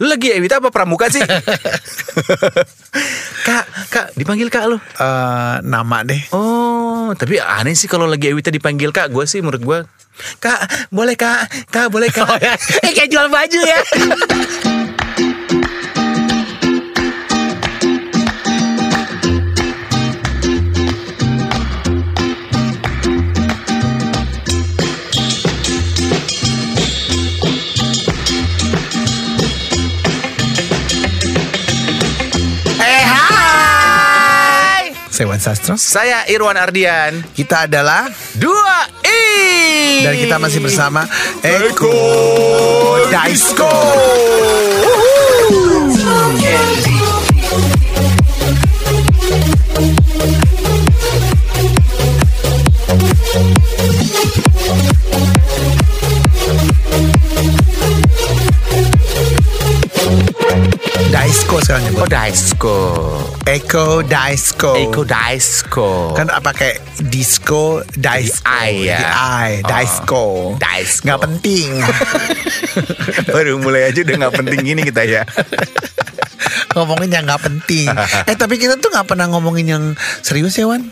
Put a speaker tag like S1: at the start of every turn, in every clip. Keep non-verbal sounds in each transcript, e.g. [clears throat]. S1: Lu lagi Ewita apa Pramuka sih? kak, kak dipanggil kak lu.
S2: Eh, nama deh.
S1: Oh, tapi aneh sih kalau lagi Ewita dipanggil kak. Gue sih menurut gue, kak boleh kak, kak boleh kak. [laughs] eh kayak jual baju ya. eh hai,
S2: Sewan Sastro.
S1: saya Irwan Ardian.
S2: Kita adalah
S1: Dua i.
S2: dan kita masih bersama Eko Daisko. Daisko sekarang nyebut.
S1: Oh Daisko, Oh.
S2: Eko Daisko.
S1: Eko Daisko. [laughs]
S2: Kan apa kayak disco, Daisko,
S1: I, ya.
S2: di I,
S1: Oh.
S2: Daisko.
S1: Daisko.
S2: Nggak
S1: [laughs]
S2: penting.
S1: Baru mulai aja udah nggak penting gini kita ya.
S2: ngomongin yang nggak
S1: [laughs]
S2: penting. Eh tapi kita tuh nggak pernah ngomongin yang serius ya Wan?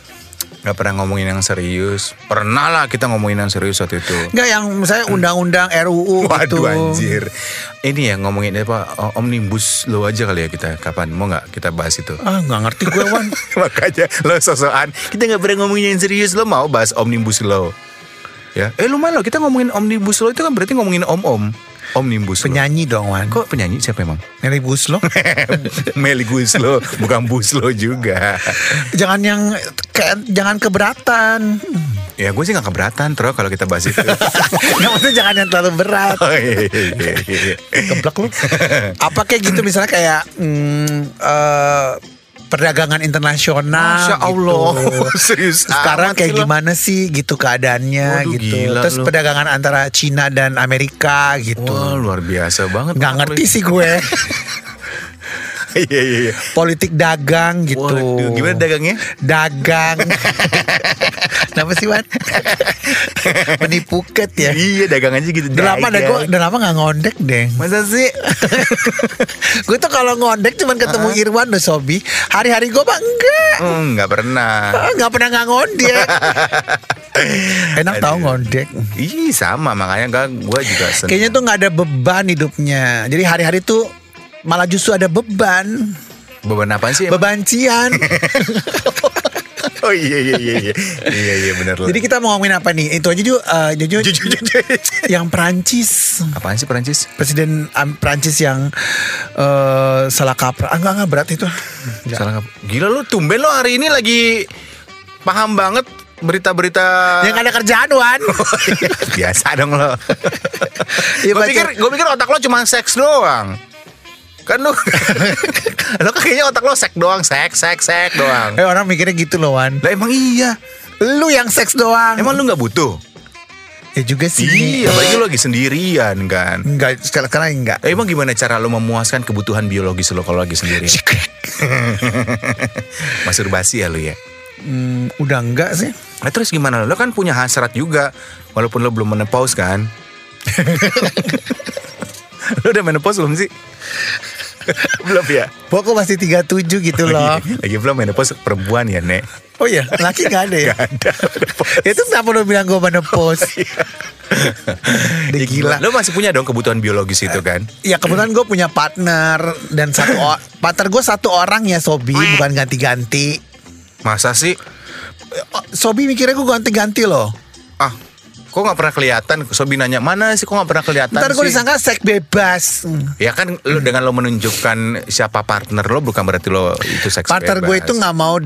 S1: Gak pernah ngomongin yang serius. Pernah lah kita ngomongin yang serius waktu itu.
S2: Nggak yang misalnya undang-undang RUU gitu.
S1: Waduh anjir. Ini ya ngomongin apa o- omnibus lo aja kali ya kita kapan mau nggak kita bahas itu? [laughs]
S2: Ah nggak ngerti gue Wan.
S1: Makanya lo sosokan kita nggak pernah ngomongin yang serius lo mau bahas omnibus lo. Ya, eh lumayan lo kita ngomongin omnibus lo itu kan berarti ngomongin om om omnibus. law.
S2: Penyanyi dong Wan.
S1: Kok penyanyi siapa emang?
S2: Nelly Guslo.
S1: [laughs] Meli Guslo, bukan Buslo juga.
S2: jangan yang kayak jangan keberatan.
S1: [laughs] Ya gue sih gak keberatan Tro kalau kita bahas itu.
S2: Nggak maksudnya jangan yang terlalu
S1: [laughs]
S2: berat.
S1: Oh, iya, iya, iya.
S2: Keblek lu. [laughs] Apa kayak gitu misalnya kayak mm, eh, perdagangan internasional.
S1: Masya Allah,
S2: gitu.
S1: serius
S2: Sekarang
S1: amat
S2: kayak
S1: sih lo.
S2: gimana sih gitu keadaannya
S1: Waduh,
S2: gitu.
S1: gila
S2: Terus
S1: lu.
S2: perdagangan antara Cina dan Amerika gitu.
S1: Wah luar biasa banget.
S2: nggak ngerti sih gue
S1: [laughs] Iya iya iya.
S2: politik dagang gitu
S1: Waduh, gimana dagangnya? [laughs]
S2: dagang kenapa sih Wan menipu ket ya
S1: Iya dagang aja gitu.
S2: udah lama dah
S1: dagang.
S2: gue udah lama gak ngondek deh
S1: [laughs] Masa sih?
S2: gue tuh kalau ngondek cuman ketemu Irwan dan Sobi hari-hari gue mah enggak
S1: Hmm, nggak pernah.
S2: Ah, nggak pernah nggak
S1: [laughs]
S2: ngondek enak tau ngondek
S1: Ih sama makanya kan gue juga seneng.
S2: kayaknya tuh nggak ada beban hidupnya jadi hari-hari tuh malah justru ada beban
S1: beban apa sih? emang?
S2: bebancian
S1: [laughs] Oh iya iya iya iya iya iya benar loh.
S2: jadi kita mau ngomongin apa nih itu aja Ju. Eh,
S1: [laughs]
S2: jujur
S1: jujur jujur.
S2: yang Perancis
S1: Apaan sih Perancis?
S2: presiden Am- Perancis yang eh, salah kaprah ah, enggak enggak berat
S1: [laughs]
S2: itu
S1: Salah ngap- Gila lu tumben lo hari ini lagi paham banget berita-berita.
S2: yang ada kerjaan Wan
S1: [laughs] Oh, iya. Biasa dong lo.
S2: Iya,
S1: gue
S2: baca.
S1: pikir gue pikir otak lo cuma seks doang. Kan lo [laughs] lo kan kayaknya otak lo seks doang, seks seks seks doang.
S2: [laughs] eh orang mikirnya gitu loh Wan
S1: Lah emang iya.
S2: lu yang seks doang
S1: Emang lu nggak butuh?
S2: ya juga sih
S1: Iya, apalagi lu lagi sendirian kan.
S2: enggak sekarang sekarang enggak
S1: Eh, Emang gimana cara lu memuaskan kebutuhan biologis lo kalau lagi
S2: [laughs]
S1: sendirian? Masturbasi ya lu ya.
S2: Hmm, udah enggak sih
S1: Nah, terus gimana lo? kan punya hasrat juga walaupun lo belum menopause
S2: [laughs]
S1: kan? lo udah menopause belum
S2: [laughs]
S1: sih? belum ya?
S2: pokok masih 37 gitu
S1: Oh,
S2: loh
S1: Lagi belum menopause perempuan ya, Nek. [laughs]
S2: oh iya laki nggak ada ya
S1: Gak ada. menopause.
S2: itu Ya, kenapa lu bilang gue
S1: Oh,
S2: menopause
S1: iya.
S2: [laughs] Udah
S1: Ya,
S2: gila
S1: Lo masih punya dong kebutuhan biologis itu kan?
S2: Ya kebetulan gue punya partner dan satu o- partner gue satu orang ya Sobi bukan ganti-ganti.
S1: Masa sih?
S2: Oh, Sobi mikirnya gue ganti-ganti loh.
S1: Ah, kok nggak pernah kelihatan? Sobi nanya mana sih? Kok nggak pernah kelihatan?
S2: Ntar gue
S1: sih?"
S2: disangka seks bebas. Hmm.
S1: Ya kan lu dengan lo menunjukkan siapa partner lo bukan berarti lo itu seks
S2: Partner gue
S1: bebas.
S2: itu nggak mau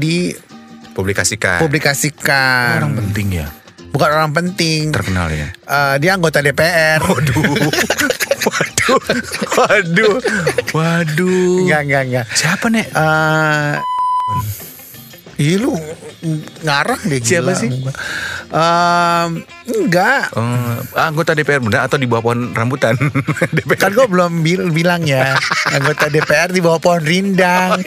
S1: publikasikan. Orang
S2: dipublikasikan.
S1: penting ya,
S2: Bukan orang penting.
S1: terkenal ya.
S2: Eh, dia anggota DPR.
S1: Waduh. waduh.
S2: [laughs]
S1: Waduh. Waduh.
S2: Enggak enggak enggak.
S1: Siapa nek?
S2: Eh, Ih lu ngarang deh
S1: Siapa
S2: gila.
S1: sih?
S2: Em, enggak.
S1: Eh, anggota DPR bener atau di bawah pohon rambutan [laughs] DPR.
S2: Kan gue belum bil- bilang ya Anggota DPR di bawah pohon rindang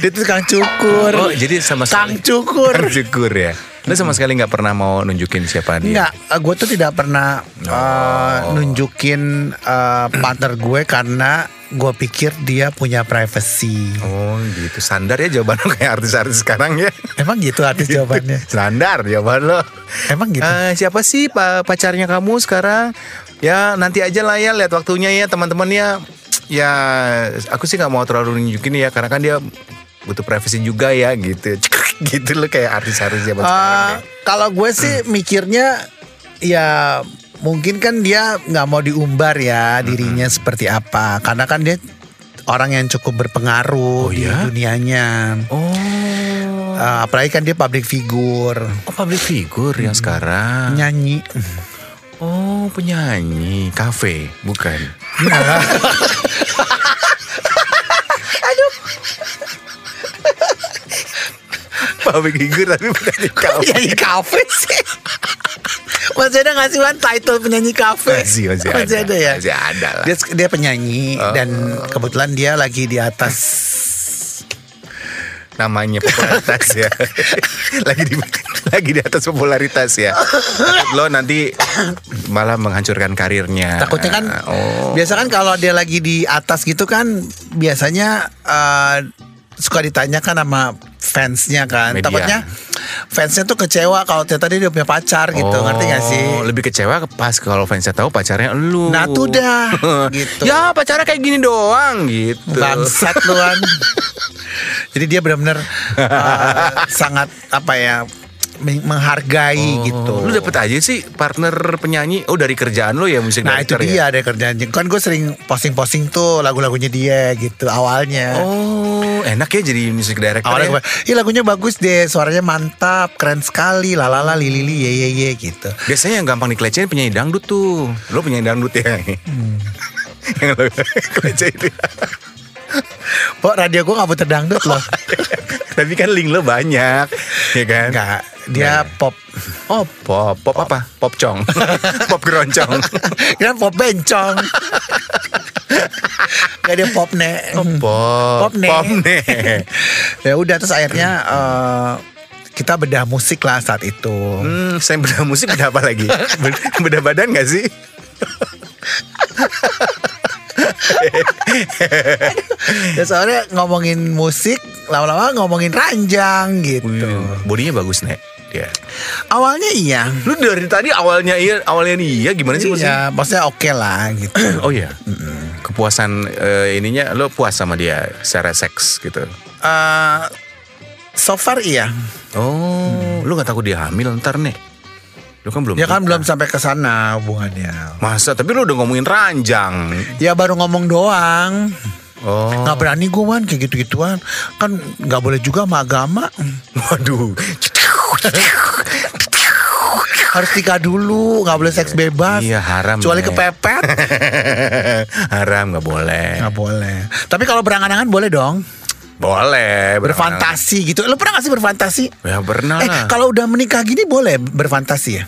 S2: Dia tuh kang cukur
S1: iya. Oh, jadi sama
S2: Kang
S1: sekali.
S2: cukur
S1: Kang cukur ya. Lu sama sekali nggak pernah mau nunjukin siapa dia.
S2: Enggak, gue tuh tidak pernah
S1: Oh.
S2: eh, nunjukin eh, partner gue karena gue pikir dia punya privacy.
S1: Oh gitu. Standar ya jawaban lo kayak artis-artis sekarang ya.
S2: Emang gitu artis
S1: [laughs]
S2: jawabannya?
S1: Standar jawaban lo.
S2: Emang gitu?
S1: Eh, siapa sih pa- pacarnya kamu sekarang? Ya nanti aja lah ya lihat waktunya ya teman-temannya. Ya aku sih nggak mau terlalu nunjukin ya karena kan dia butuh privacy juga ya gitu. [laughs] gitu lo kayak artis-artis zaman sekarang.
S2: Eh,
S1: ya.
S2: kalau gue sih mikirnya ya mungkin kan dia nggak mau diumbar
S1: Hmm,
S2: ya dirinya seperti apa karena kan dia orang yang cukup
S1: Oh,
S2: berpengaruh di
S1: ya?
S2: dunianya
S1: Oh.
S2: Eh, apalagi kan dia public figure
S1: Oh public figure yang sekarang.
S2: nyanyi
S1: Oh penyanyi kafe bukan. [laughs] Aduh. Public figure tapi bukan di
S2: [laughs]
S1: kafe.
S2: penyanyi kafe
S1: [laughs]
S2: sih masih ada nggak sih Wan, title penyanyi kafe
S1: Masih masih ada.
S2: ya
S1: Masih ada lah. Oh.
S2: dia dia penyanyi dan kebetulan dia lagi di atas
S1: Namanya popularitas ya.
S2: [laughs]
S1: lagi di lagi di atas popularitas ya. Takut lo nanti malah menghancurkan karirnya.
S2: Takutnya kan
S1: Oh.
S2: biasa kan kalau dia lagi di atas gitu kan biasanya eh, suka ditanyakan sama fansnya kan.
S1: Media.
S2: Takutnya fansnya tuh kecewa kalau ternyata dia udah punya pacar gitu.
S1: Oh,
S2: Ngerti gak sih?
S1: Lebih kecewa ke- pas kalau fansnya tahu pacarnya lu.
S2: Nah, tuh
S1: [laughs]
S2: dah, gitu.
S1: Ya pacarnya kayak gini doang gitu.
S2: Bangsat
S1: [laughs]
S2: luan. Jadi dia benar-benar eh, sangat apa ya men- menghargai
S1: Oh.
S2: gitu.
S1: Lu dapet aja sih partner penyanyi. Oh dari kerjaan lu ya musik
S2: Nah itu
S1: director ya?
S2: dia dari kerjaan Kan gue sering posting-posting tuh lagu-lagunya dia gitu awalnya
S1: Oh enak ya jadi musik director.
S2: Awalnya
S1: ya?
S2: gue, ih lagunya bagus deh, suaranya mantap, keren sekali, lalala, lilili, ye ye ye gitu.
S1: Biasanya yang gampang dikelecehin penyanyi dangdut tuh. Lu penyanyi dangdut ya.
S2: Hmm.
S1: [laughs] yang lu kelecehin.
S2: Pok radio gue gak puter dangdut
S1: [laughs]
S2: loh.
S1: Tapi kan link lo banyak, ya kan?
S2: Enggak, dia pop.
S1: Oh pop, pop apa? Pop
S2: [laughs]
S1: cong, pop geroncong.
S2: Kira pop
S1: [laughs]
S2: bencong. Gak dia pop nek.
S1: Oh, Pop,
S2: Pop, Nek.
S1: pop nih.
S2: [laughs] ya udah terus akhirnya eh, kita bedah musik lah saat itu.
S1: Hmm, saya bedah musik bedah apa [laughs] lagi? Bed- Bedah badan gak sih?
S2: Ya soalnya ngomongin musik, lama-lama ngomongin ranjang gitu.
S1: Bodinya bagus nek. Ya.
S2: Awalnya iya.
S1: Lu dari tadi awalnya iya, awalnya iya gimana sih maksudnya?
S2: Iya, maksudnya oke lah gitu.
S1: Oh iya. Kepuasan eh, ininya lo puas sama dia secara seks gitu.
S2: Eh, so far iya.
S1: Oh, lu gak takut dia hamil ntar nek? Lu kan belum.
S2: Ya kan
S1: nikah.
S2: belum sampai ke sana hubungannya.
S1: Masa tapi lu udah ngomongin ranjang.
S2: Ya baru ngomong doang.
S1: Oh.
S2: Nggak berani gue kan kayak gitu-gituan. Kan nggak boleh juga sama agama.
S1: Nah, [laughs] Waduh.
S2: Harus nikah dulu, nggak boleh seks bebas.
S1: Iya, haram,
S2: Kecuali
S1: Nek.
S2: kepepet.
S1: [laughs] Haram nggak boleh.
S2: Nggak boleh. Tapi kalau berangan-angan boleh dong.
S1: Boleh. berfantasi
S2: Berfantasi gitu. Lo pernah nggak sih berfantasi?
S1: Ya pernah
S2: Eh
S1: lah.
S2: kalau udah menikah gini boleh berfantasi ya?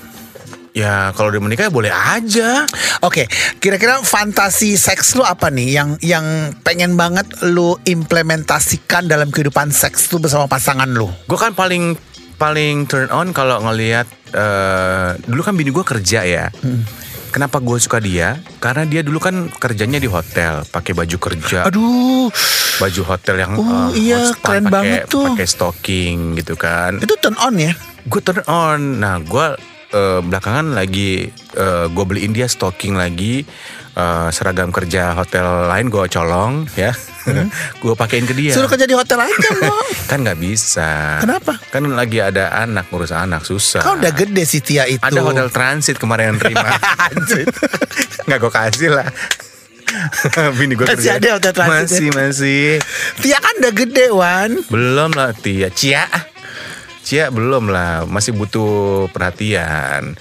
S1: Ya kalau udah menikah ya boleh aja.
S2: Oke, kira-kira fantasi seks lu apa nih yang yang pengen banget lu implementasikan dalam kehidupan seks lu bersama pasangan lu?
S1: Gue kan paling paling turn on kalau ngelihat eh, dulu kan bini gue kerja ya.
S2: Hmm.
S1: Kenapa gue suka dia? Karena dia dulu kan kerjanya di hotel, pakai baju kerja,
S2: Aduh,
S1: baju hotel yang
S2: Oh,
S1: eh,
S2: iya,
S1: hot spot,
S2: keren
S1: pakai-
S2: banget tuh.
S1: pakai stocking gitu kan.
S2: itu turn on ya?
S1: Gue turn on. Nah gue belakangan lagi gue beliin dia stocking lagi eh, seragam kerja hotel lain gue colong ya. [laughs] gue pakein ke dia.
S2: Hmm. Suruh kerja di hotel aja
S1: [laughs]
S2: lo.
S1: Kan nggak bisa.
S2: Kenapa?
S1: Kan lagi ada anak ngurus anak susah.
S2: Kau udah gitu? gede sih Tia itu.
S1: Ada hotel transit kemarin yang terima. [laughs] nggak gue kasih lah. [laughs] Bini gue
S2: Masih ada hotel transit ya?
S1: Masih masih.
S2: Tia kan udah gede Wan.
S1: Belum lah Tia. Cia. Cia belum lah. Masih butuh perhatian.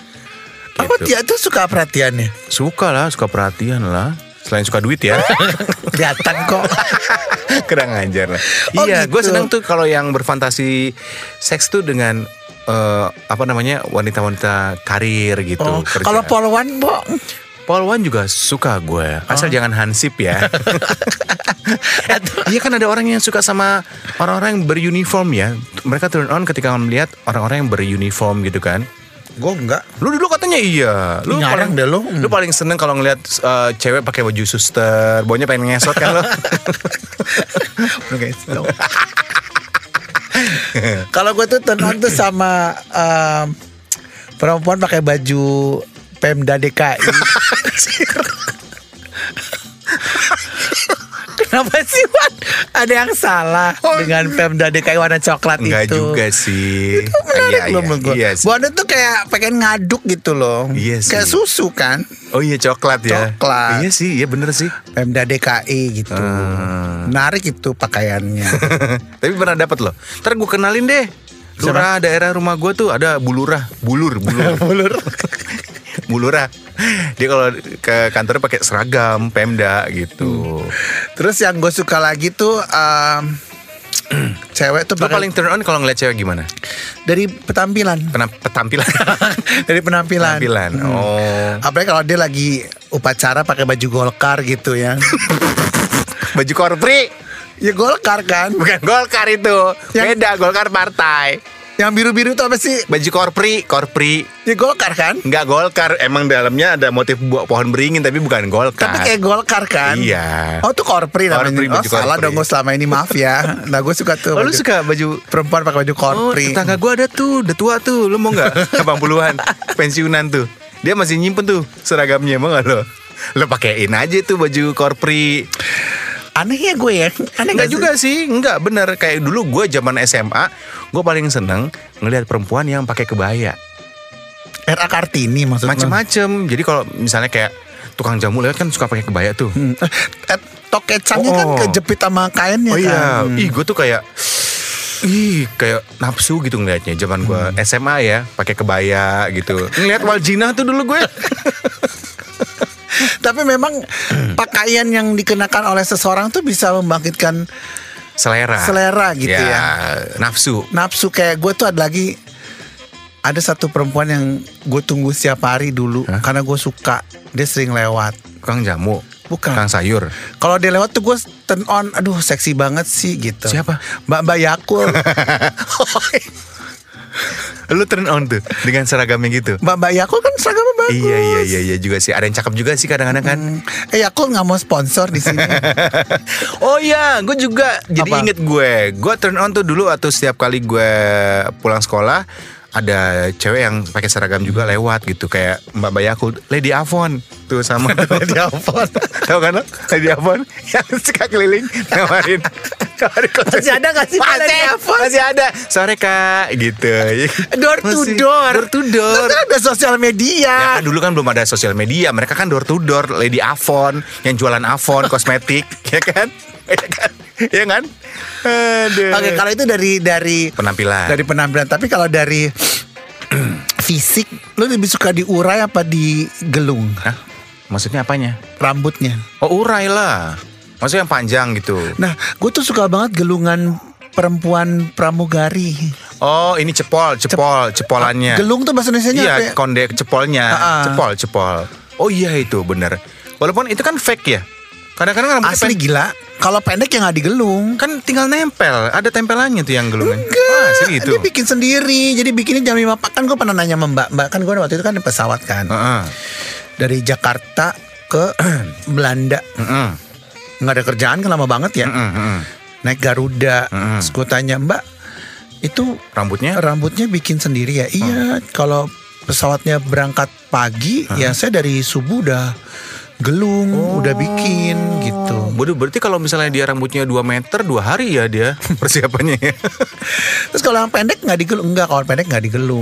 S2: Apa
S1: Gitu.
S2: Tia tuh suka perhatiannya?
S1: Suka lah, suka perhatian lah. Selain suka duit ya.
S2: [laughs] Kelihatan kok.
S1: [laughs] Kurang ajar lah.
S2: Oh,
S1: iya, gue
S2: gitu.
S1: senang tuh kalau yang berfantasi seks tuh dengan eh, apa namanya wanita-wanita karir gitu.
S2: Oh,
S1: kerja.
S2: kalau polwan Bo,
S1: Polwan juga suka gue. Asal
S2: Oh.
S1: jangan hansip
S2: [laughs]
S1: ya. Eh, Iya kan ada orang yang suka sama orang-orang yang beruniform ya. Mereka turn on ketika melihat orang-orang yang beruniform gitu kan.
S2: Gue enggak.
S1: Lu dulu katanya iya. Lu
S2: Ngarang
S1: paling
S2: deh lu.
S1: Lu paling seneng kalau ngelihat eh, cewek pakai baju suster. Baunya pengen ngesot kan lo.
S2: [laughs] Oke.
S1: Gitu.
S2: so. Kalau gue tuh turn on tuh sama em, perempuan pakai baju Pemda DKI. Kenapa sih Wan? Ada yang salah dengan Pemda DKI warna coklat
S1: Enggak
S2: itu?
S1: juga sih.
S2: Itu menarik
S1: Iya,
S2: loh
S1: iya,
S2: menurut gue.
S1: iya sih.
S2: Buana tuh kayak pengen ngaduk gitu loh.
S1: Iya sih.
S2: kayak susu kan.
S1: Oh iya coklat ya.
S2: Coklat.
S1: Iya sih, iya bener sih. [laughs]
S2: Pemda DKI gitu.
S1: Ah.
S2: Menarik itu
S1: [laughs]
S2: pakaiannya.
S1: Tapi pernah dapat loh. Ntar gue kenalin deh. Lurah daerah rumah gue tuh ada bulurah, bulur,
S2: [laughs]
S1: bulur. bulur. bulurah. Dia kalau ke kantor pakai seragam Pemda
S2: Hmm.
S1: gitu.
S2: Terus yang gue suka lagi tuh em, [clears throat] cewek tuh
S1: Lo
S2: paling
S1: paling turn on kalau ngeliat cewek gimana?
S2: dari penampilan,
S1: Pena-
S2: [laughs]
S1: Penampilan.
S2: dari penampilan.
S1: Penampilan.
S2: Hmm.
S1: Oh.
S2: Apalagi kalau dia lagi upacara pakai baju golkar gitu
S1: [laughs]
S2: ya.
S1: Baju korpri.
S2: ya golkar kan.
S1: Bukan Golkar itu.
S2: Yang-
S1: Beda Golkar partai.
S2: Yang biru-biru tuh apa sih?
S1: Baju korpri, korpri.
S2: Ya golkar kan.
S1: Enggak Golkar, emang dalamnya ada motif buah pohon beringin tapi bukan Golkar.
S2: Tapi kayak golkar
S1: Ah.
S2: kan.
S1: Iya.
S2: Oh tuh korpri namanya.
S1: Korpri,
S2: oh
S1: baju
S2: salah
S1: korpri.
S2: dong gue selama ini maaf
S1: [laughs]
S2: ya. Nah gue suka tuh.
S1: Oh, lu
S2: baju-
S1: suka baju
S2: perempuan pakai baju
S1: Oh,
S2: korpri.
S1: tetangga gue ada tuh, udah tua tuh. Lo mau [laughs] nggak? 80-an, pensiunan tuh. Dia masih nyimpen tuh seragamnya, mau nggak lo? Lo pakein aja tuh baju korpri.
S2: Aneh ya gue ya. Aneh
S1: Enggak
S2: gak juga.
S1: Eh, juga sih, enggak bener. Kayak dulu gue zaman SMA, gue paling seneng ngelihat perempuan yang pakai kebaya.
S2: RA Kartini maksudnya.
S1: Macem-macem. Jadi kalau misalnya kayak tukang jamu lewat kan suka pakai kebaya tuh.
S2: Hmm. Eh, Tokecangnya kan
S1: Oh.
S2: kejepit sama kainnya
S1: Oh iya,
S2: kan.
S1: ih gue tuh kayak Ih, kayak nafsu gitu ngelihatnya. Zaman gue
S2: Hmm.
S1: SMA ya, pakai kebaya gitu. Ngeliat Waljina tuh dulu gue.
S2: Tapi memang pakaian yang dikenakan oleh seseorang tuh bisa membangkitkan
S1: selera
S2: selera gitu ya.
S1: nafsu
S2: Nafsu kayak gue tuh ada lagi ada satu perempuan yang gue tunggu setiap hari dulu karena gue suka dia sering lewat.
S1: kang jamu
S2: Bukan.
S1: kang sayur
S2: Kalau dia lewat tuh gue turn on, aduh seksi banget sih gitu.
S1: Siapa?
S2: Mbak Mbak
S1: [laughs]
S2: Yakul.
S1: lu turn on tuh dengan seragamnya gitu
S2: Mbak Mbak Yakul kan seragamnya bagus.
S1: iya iya iya iya juga sih ada yang cakep juga sih kadang-kadang kan
S2: Eh Yakul nggak mau sponsor di
S1: [laughs]
S2: sini.
S1: oh iya gue juga jadi
S2: Apa?
S1: inget gue gue turn on tuh dulu atau setiap kali gue pulang sekolah ada cewek yang pakai seragam juga lewat gitu kayak mbak bayaku Lady Avon tuh [laughs] sama
S2: Lady Avon.
S1: tahu kan lo? Lady Avon yang suka keliling nawarin nawarin konsesi.
S2: Masih ada nggak sih Pak Lady
S1: masih,
S2: Avon?
S1: masih ada sore kak gitu
S2: Door to
S1: Masih-
S2: door.
S1: door to door
S2: Kan ada sosial
S1: Ya
S2: media.
S1: kan dulu kan belum ada sosial media, mereka kan door to door, Lady Avon yang jualan
S2: [laughs]
S1: Avon kosmetik, ya kan? [laughs] Ya kan? Ya kan? Aduh.
S2: Oke, kalau itu dari dari
S1: penampilan.
S2: dari penampilan tapi kalau dari [clears throat] fisik lu lebih suka diurai apa digelung
S1: Hah? Maksudnya apanya?
S2: rambutnya
S1: Oh, urai lah. Maksudnya yang panjang gitu.
S2: nah gue tuh suka banget gelungan perempuan pramugari
S1: Oh, ini cepol, cepol, cepolannya.
S2: gelung tuh bahasa Indonesia apa
S1: Iya,
S2: ya?
S1: konde cepolnya,
S2: Ah.
S1: cepol, cepol. Oh iya itu bener. Walaupun itu kan fake ya. Kadang-kadang rambutnya
S2: asli
S1: pendek.
S2: gila kalau pendek ya nggak digelung
S1: kan tinggal nempel, ada tempelannya tuh yang gelungan.
S2: Enggak,
S1: Wah, asli gitu. itu.
S2: dia bikin sendiri jadi bikinnya jam 5 kan gue pernah nanya sama mbak mbak kan gue waktu itu kan di pesawat kan
S1: Heeh.
S2: dari Jakarta ke [clears throat] Belanda
S1: Heeh.
S2: nggak ada kerjaan kan lama banget ya
S1: Heeh, heeh.
S2: naik Garuda.
S1: Mm-mm.
S2: Terus gue tanya Mbak, itu
S1: Rambutnya
S2: rambutnya bikin sendiri ya? Iya, kalau pesawatnya berangkat pagi, ya saya dari subuh udah gelung, udah bikin gitu.
S1: Waduh, berarti kalau misalnya dia rambutnya 2 meter, dua hari ya dia [laughs] persiapannya. ya.
S2: Terus kalau yang pendek nggak digelung, enggak kalau pendek nggak digelung.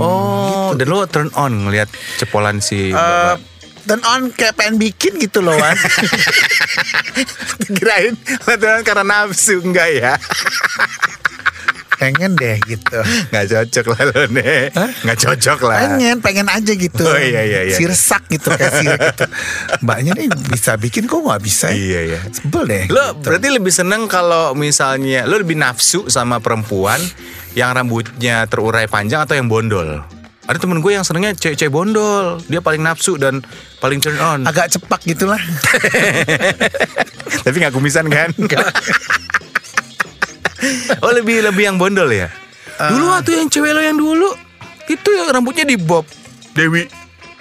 S1: oh,
S2: Gitu.
S1: dan lo turn on ngelihat cepolan si
S2: Eh,
S1: Mbak.
S2: turn on kayak pengen bikin gitu loh [laughs] Wan
S1: Kirain lo turn on karena nafsu, enggak ya? [laughs]
S2: Pengen deh gitu
S1: Enggak cocok lah lo nih. Enggak cocok lah.
S2: Pengen, pengen aja gitu
S1: Oh, iya, iya, iya.
S2: Sirsak gitu kayak sirik gitu Mbaknya nih bisa bikin kok nggak bisa ya?
S1: Iya, iya.
S2: Sebel deh
S1: Lo berarti lebih seneng kalau misalnya lo lebih nafsu sama perempuan yang rambutnya terurai panjang atau yang bondol? Ada temen gue yang senengnya cewek-cewek bondol. Dia paling nafsu dan paling turn on.
S2: Agak cepak gitulah.
S1: Tapi nggak kumisan kan? oh lebih lebih yang bondol ya. dulu waktu yang cewek lo yang dulu itu yang rambutnya di bob Dewi.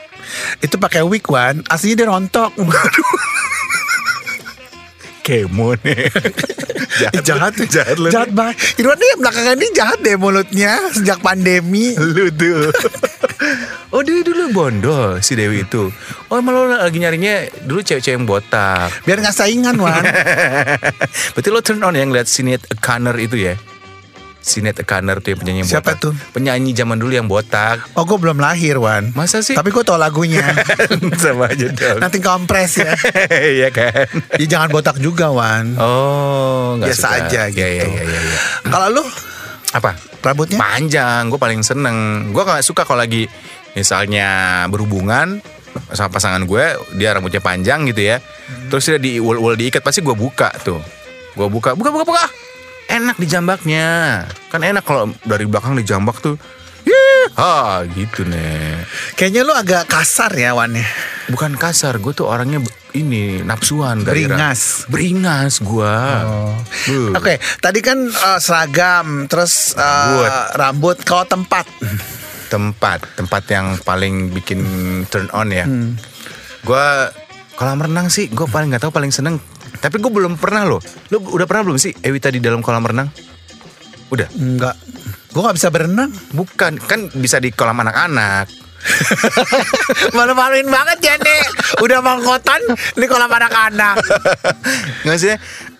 S2: [laughs] Itu pakai wig one, aslinya dia rontok. [laughs]
S1: Kemo nih.
S2: Eh, jahat,
S1: lu, jahat lu.
S2: jahat banget. Irwan nih belakangan ini jahat deh mulutnya sejak pandemi.
S1: lu tuh. oh dia dulu bondol si Dewi itu. Oh emang lo lagi nyarinya dulu cewek-cewek yang botak. [laughs]
S2: Biar nggak saingan Wan.
S1: Berarti lo turn on yang lihat Sinet Kanner itu ya? Sinet Kanner tuh ya penyanyi yang botak.
S2: Siapa tuh?
S1: Penyanyi zaman dulu yang botak.
S2: Oh gue belum lahir Wan.
S1: Masa sih?
S2: Tapi gue tau lagunya.
S1: [laughs] Sama aja dong.
S2: Nanti kompres ya. [laughs]
S1: Iya kan?
S2: Ya jangan botak juga Wan.
S1: Oh, nggak
S2: Biasa
S1: suka.
S2: aja
S1: Iya, iya,
S2: gitu.
S1: iya, iya, iya.
S2: Kalau lu
S1: Apa?
S2: rambutnya?
S1: Panjang, gue paling seneng. Gue nggak suka kalau lagi misalnya berhubungan sama pasangan gue, dia rambutnya panjang gitu ya.
S2: Hmm.
S1: Terus dia diul-ul diikat, pasti gue buka tuh. Gue buka, buka, buka, buka. Enak dijambaknya. Kan enak kalau dari belakang dijambak tuh. Ih, ah gitu nih.
S2: Kayaknya lu agak kasar ya Wan ya.
S1: Bukan kasar, gue tuh orangnya be- ini nafsuan gairah.
S2: Beringas. Oh.
S1: Beringas gue.
S2: Oke, tadi kan eh, seragam, terus eh,
S1: Rambut.
S2: rambut. Kalau tempat,
S1: tempat tempat yang paling bikin turn on ya gua kolam renang sih gue paling nggak tahu paling seneng tapi gue belum pernah loh lo udah pernah belum sih Ewita di dalam kolam renang udah
S2: enggak. Gue nggak bisa berenang.
S1: bukan kan bisa di kolam anak-anak [laughs]
S2: Malu-maluin banget ya nih. Udah mangkotan di kolam anak-anak.
S1: nggak sih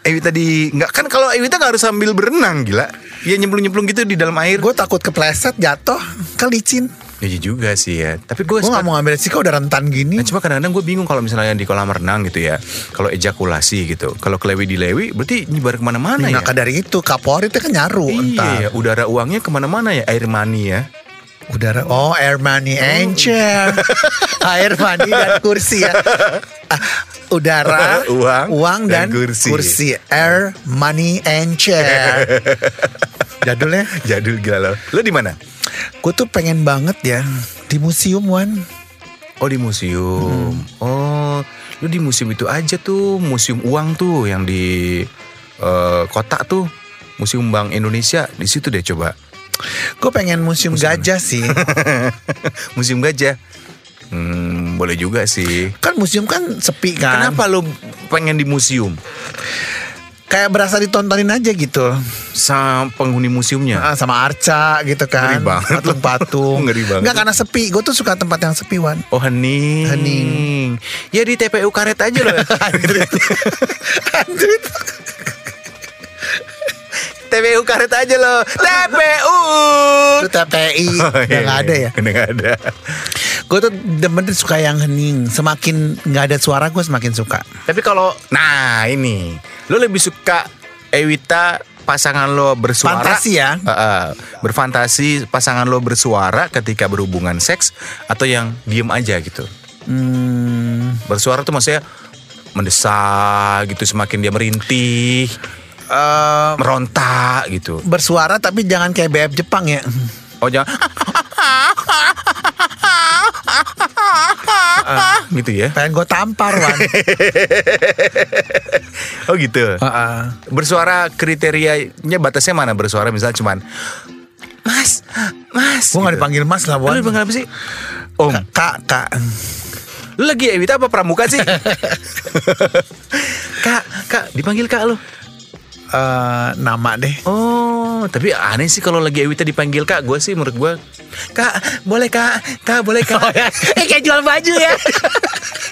S1: Ewita di nggak kan kalau Ewita nggak harus sambil berenang gila ya nyemplung nyemplung gitu di dalam air
S2: Gue takut kepleset, jatuh, kelicin.
S1: Iya juga sih ya tapi gue
S2: Gue nggak mau ngambil resiko udah rentan gini.
S1: Nah, cuma kadang-kadang gue bingung kalau misalnya di kolam renang gitu ya, kalau ejakulasi gitu, kalau kelewi di lewi, berarti nyebar kemana-mana ya.
S2: Maka dari itu Kapolri itu kan nyaru entar.
S1: Iya, udara uangnya kemana-mana ya, air mani ya.
S2: Udara oh air money and chair.
S1: iya.
S2: [laughs] air money dan kursi ya. Ah, udara,
S1: [laughs] Uang,
S2: dan,
S1: dan kursi.
S2: kursi. Air money and
S1: [laughs]
S2: chair. Jadulnya
S1: Jadul gila lo. Lo di mana?
S2: gue tuh pengen banget ya di museum Wan.
S1: Oh di museum.
S2: Hmm.
S1: Oh, lo di museum itu aja tuh, museum uang tuh yang di eh, kota tuh, museum Bank Indonesia di situ deh coba. [laughs]
S2: Gue pengen museum, gajah sih.
S1: museum gajah. Hmm, boleh juga sih.
S2: kan museum kan sepi kan.
S1: Kenapa lo pengen di museum?
S2: Kayak berasa ditontonin aja gitu.
S1: Sama penghuni museumnya.
S2: Ah, sama Arca gitu
S1: Ngeri
S2: kan.
S1: banget.
S2: Patung-patung.
S1: [laughs] Ngeri banget.
S2: Nggak, karena sepi. Gue tuh suka tempat yang sepi
S1: [laughs]
S2: Wan.
S1: Oh hening.
S2: Hening.
S1: Ya di TPU karet aja
S2: [laughs]
S1: loh. [laughs]
S2: Anjrit.
S1: TPU karet aja loh. TPU.
S2: Itu TPI
S1: Oh, iya,
S2: udah nggak ada
S1: iya.
S2: ya.
S1: Udah nggak ada.
S2: Gue tuh demen tuh suka yang hening. Semakin nggak ada suara gue semakin suka.
S1: Tapi kalau nah ini, lo lebih suka Ewita pasangan lo bersuara.
S2: Fantasi ya.
S1: Eh, eh, berfantasi pasangan lo bersuara ketika berhubungan seks atau yang diem aja gitu.
S2: Hmm,
S1: Bersuara tuh maksudnya mendesak gitu semakin dia merintih,
S2: eh,
S1: meronta gitu.
S2: bersuara tapi jangan kayak BF Jepang ya.
S1: Oh
S2: [laughs]
S1: jangan gitu ya.
S2: Pengen gue tampar Wan.
S1: [laughs] Oh gitu.
S2: Heeh.
S1: bersuara kriterianya batasnya mana bersuara misalnya cuman mas mas
S2: gue
S1: gitu.
S2: nggak dipanggil Mas lah
S1: Lu
S2: Wan.
S1: dipanggil apa sih om
S2: Kak, kak.
S1: lu lagi Ewita apa Pramuka
S2: [laughs]
S1: sih kak kak dipanggil kak lu
S2: Eh, nama deh.
S1: oh tapi aneh sih kalau lagi Ewita dipanggil kak gue sih menurut gue kak boleh kak kak boleh
S2: [laughs]
S1: kak [laughs]
S2: Oh, ya.
S1: eh kayak jual baju ya [laughs]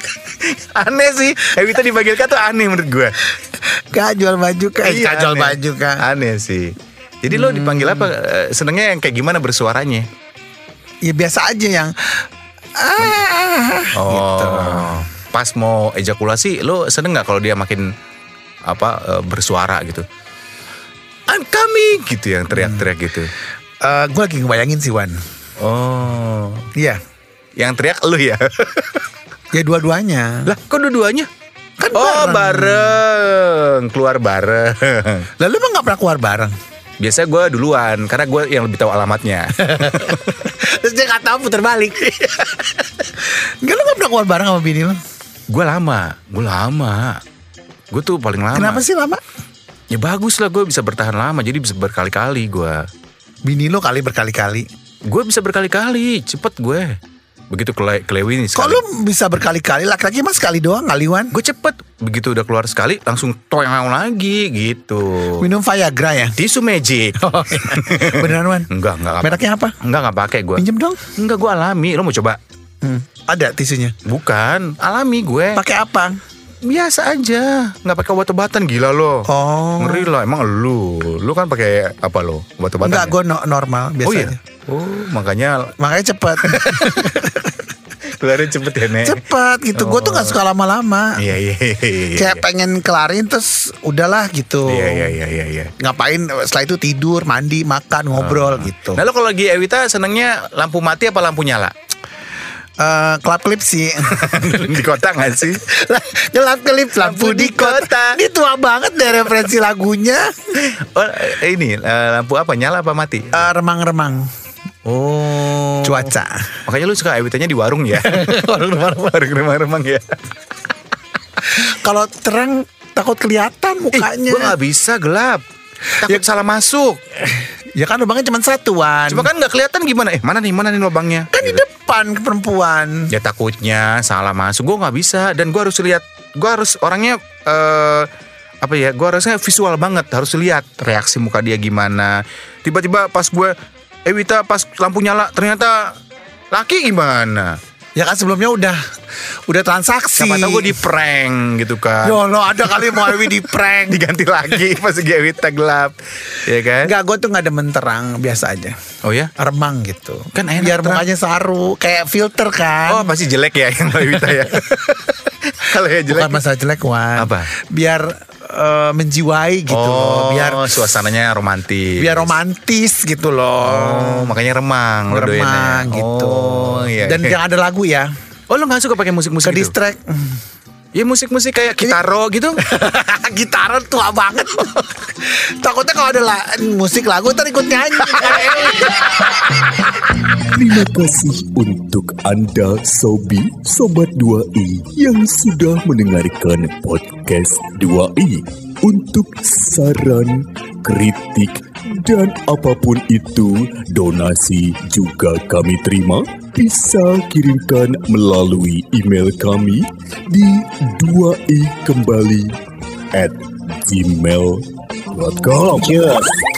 S1: aneh sih Ewita dipanggil kak tuh aneh menurut gue
S2: Kak jual baju kak. Eh,
S1: Iya,
S2: kak jual
S1: aneh.
S2: baju kak. Hmm.
S1: Aneh sih. Jadi lo dipanggil apa? Eh, Senengnya yang kayak gimana bersuaranya?
S2: Ya biasa aja yang. Ah,
S1: Oh. Pas mau ejakulasi, lo seneng nggak kalau dia makin apa eh, bersuara gitu? I'm coming gitu yang teriak-teriak gitu.
S2: gue Eh, lagi ngebayangin sih Wan.
S1: Oh.
S2: Iya.
S1: Yang teriak lo ya?
S2: Ya dua-duanya.
S1: [laughs] lah, kok dua-duanya?
S2: Kan
S1: oh, bareng. Keluar bareng.
S2: Lalu emang nggak pernah keluar bareng?
S1: biasanya gue duluan karena gue yang lebih tahu [laughs] alamatnya.
S2: Terus dia nggak tahu putar balik. Enggak lu [laughs] nggak pernah keluar bareng sama bini lu?
S1: gue lama, gue lama. Gue tuh paling lama.
S2: Kenapa sih lama?
S1: Ya bagus lah gue bisa bertahan lama jadi bisa berkali-kali gue.
S2: Bini lu kali berkali-kali.
S1: Gue bisa berkali-kali, cepet gue. Begitu kele kelewin
S2: Kok
S1: sekali.
S2: lu bisa berkali-kali? Laki-laki mas sekali doang ngaliwan.
S1: Gue cepet, begitu udah keluar sekali langsung toyang lagi gitu.
S2: Minum Viagra ya?
S1: Tisu
S2: [laughs]
S1: magic.
S2: Oh, Beneran Wan?
S1: [laughs] Enggak, enggak. Enggak,
S2: Mereknya apa?
S1: enggak, enggak pakai gue.
S2: Pinjem dong.
S1: Enggak, gue alami. Lo mau coba?
S2: Hmm. Ada tisunya.
S1: Bukan, alami gue.
S2: Pakai apa?
S1: Biasa aja, nggak pakai obat-obatan gila lo.
S2: Oh.
S1: Ngeri lah, emang lu, lu kan pakai apa lo? Obat-obatan?
S2: Enggak,
S1: ya?
S2: gue no- normal
S1: Oh iya.
S2: biasanya.
S1: Oh, makanya
S2: Makanya cepet,
S1: keluarnya cepet ya, Nek.
S2: cepet gitu. Gue tuh nggak suka lama-lama.
S1: oh. Iya, iya, iya, iya.
S2: Kayak pengen kelarin terus udahlah gitu.
S1: Iya, iya, iya, iya, iya.
S2: Ngapain? Setelah itu tidur, mandi, makan, ngobrol gitu.
S1: Nah, lo kalau lagi Ewita senengnya lampu mati apa lampu nyala?
S2: Eh, Kelap klip sih.
S1: [laughs]
S2: [laughs]
S1: Di kota nggak sih?
S2: Kelap kelip lampu di kota. Ini tua banget deh referensi lagunya.
S1: Oh, eh, ini eh, lampu apa? Nyala apa mati?
S2: Eh, Remang-remang
S1: Oh.
S2: cuaca.
S1: Makanya lu suka Ewitanya di warung ya? [laughs] warung remang-remang. Warung remang-remang ya.
S2: Kalau terang takut kelihatan mukanya.
S1: Gue nggak bisa gelap. Takut salah masuk.
S2: ya kan lubangnya cuma satuan.
S1: Cuma kan Iya. nggak kelihatan gimana? Eh mana nih mana nih lubangnya? Gitu.
S2: kan di depan ke perempuan.
S1: Ya takutnya salah masuk. Gue nggak bisa dan gue harus lihat. Gue harus orangnya eh apa ya? Gue harusnya visual banget. Harus lihat reaksi muka dia gimana. Tiba-tiba pas gue Ewita pas lampu nyala ternyata laki gimana?
S2: Ya kan sebelumnya udah udah transaksi.
S1: Siapa tahu gue di prank gitu kan?
S2: Ya Allah, ada kali mau Ewi di prank.
S1: [laughs] Diganti
S2: [laughs]
S1: lagi pas lagi Ewita gelap, ya kan?
S2: Enggak, gue tuh nggak demen terang biasa aja.
S1: Oh ya?
S2: Remang gitu.
S1: Kan enak
S2: Biar
S1: terang.
S2: mukanya saru, kayak filter
S1: Oh
S2: kan.
S1: pasti jelek ya yang Ewita ya? [laughs] Kalau ya jelek
S2: Bukan masalah jelek Wan
S1: Apa?
S2: Biar eh, menjiwai gitu
S1: oh,
S2: loh Biar
S1: suasananya romantis.
S2: biar romantis gitu
S1: Oh,
S2: loh
S1: makanya remang, lo doyannya.
S2: Remang gitu
S1: Oh, iya.
S2: Dan
S1: iya.
S2: jangan ada lagu ya
S1: oh, lo gak suka pakai musik-musik
S2: Ke
S1: gitu?
S2: distract [laughs]
S1: Ya musik-musik kayak gitaro gitu.
S2: Gitaran tua banget [laughs] Takutnya kalau ada la- musik lagu Ntar ikut nyanyi Kayak
S1: [laughs]
S2: Eli.
S3: Terima kasih untuk Anda Sobi Sobat 2i yang sudah mendengarkan podcast 2i. Untuk saran, kritik, dan apapun itu, donasi juga kami terima. Bisa kirimkan melalui email kami di 2i kembali at gmail.com. Yes.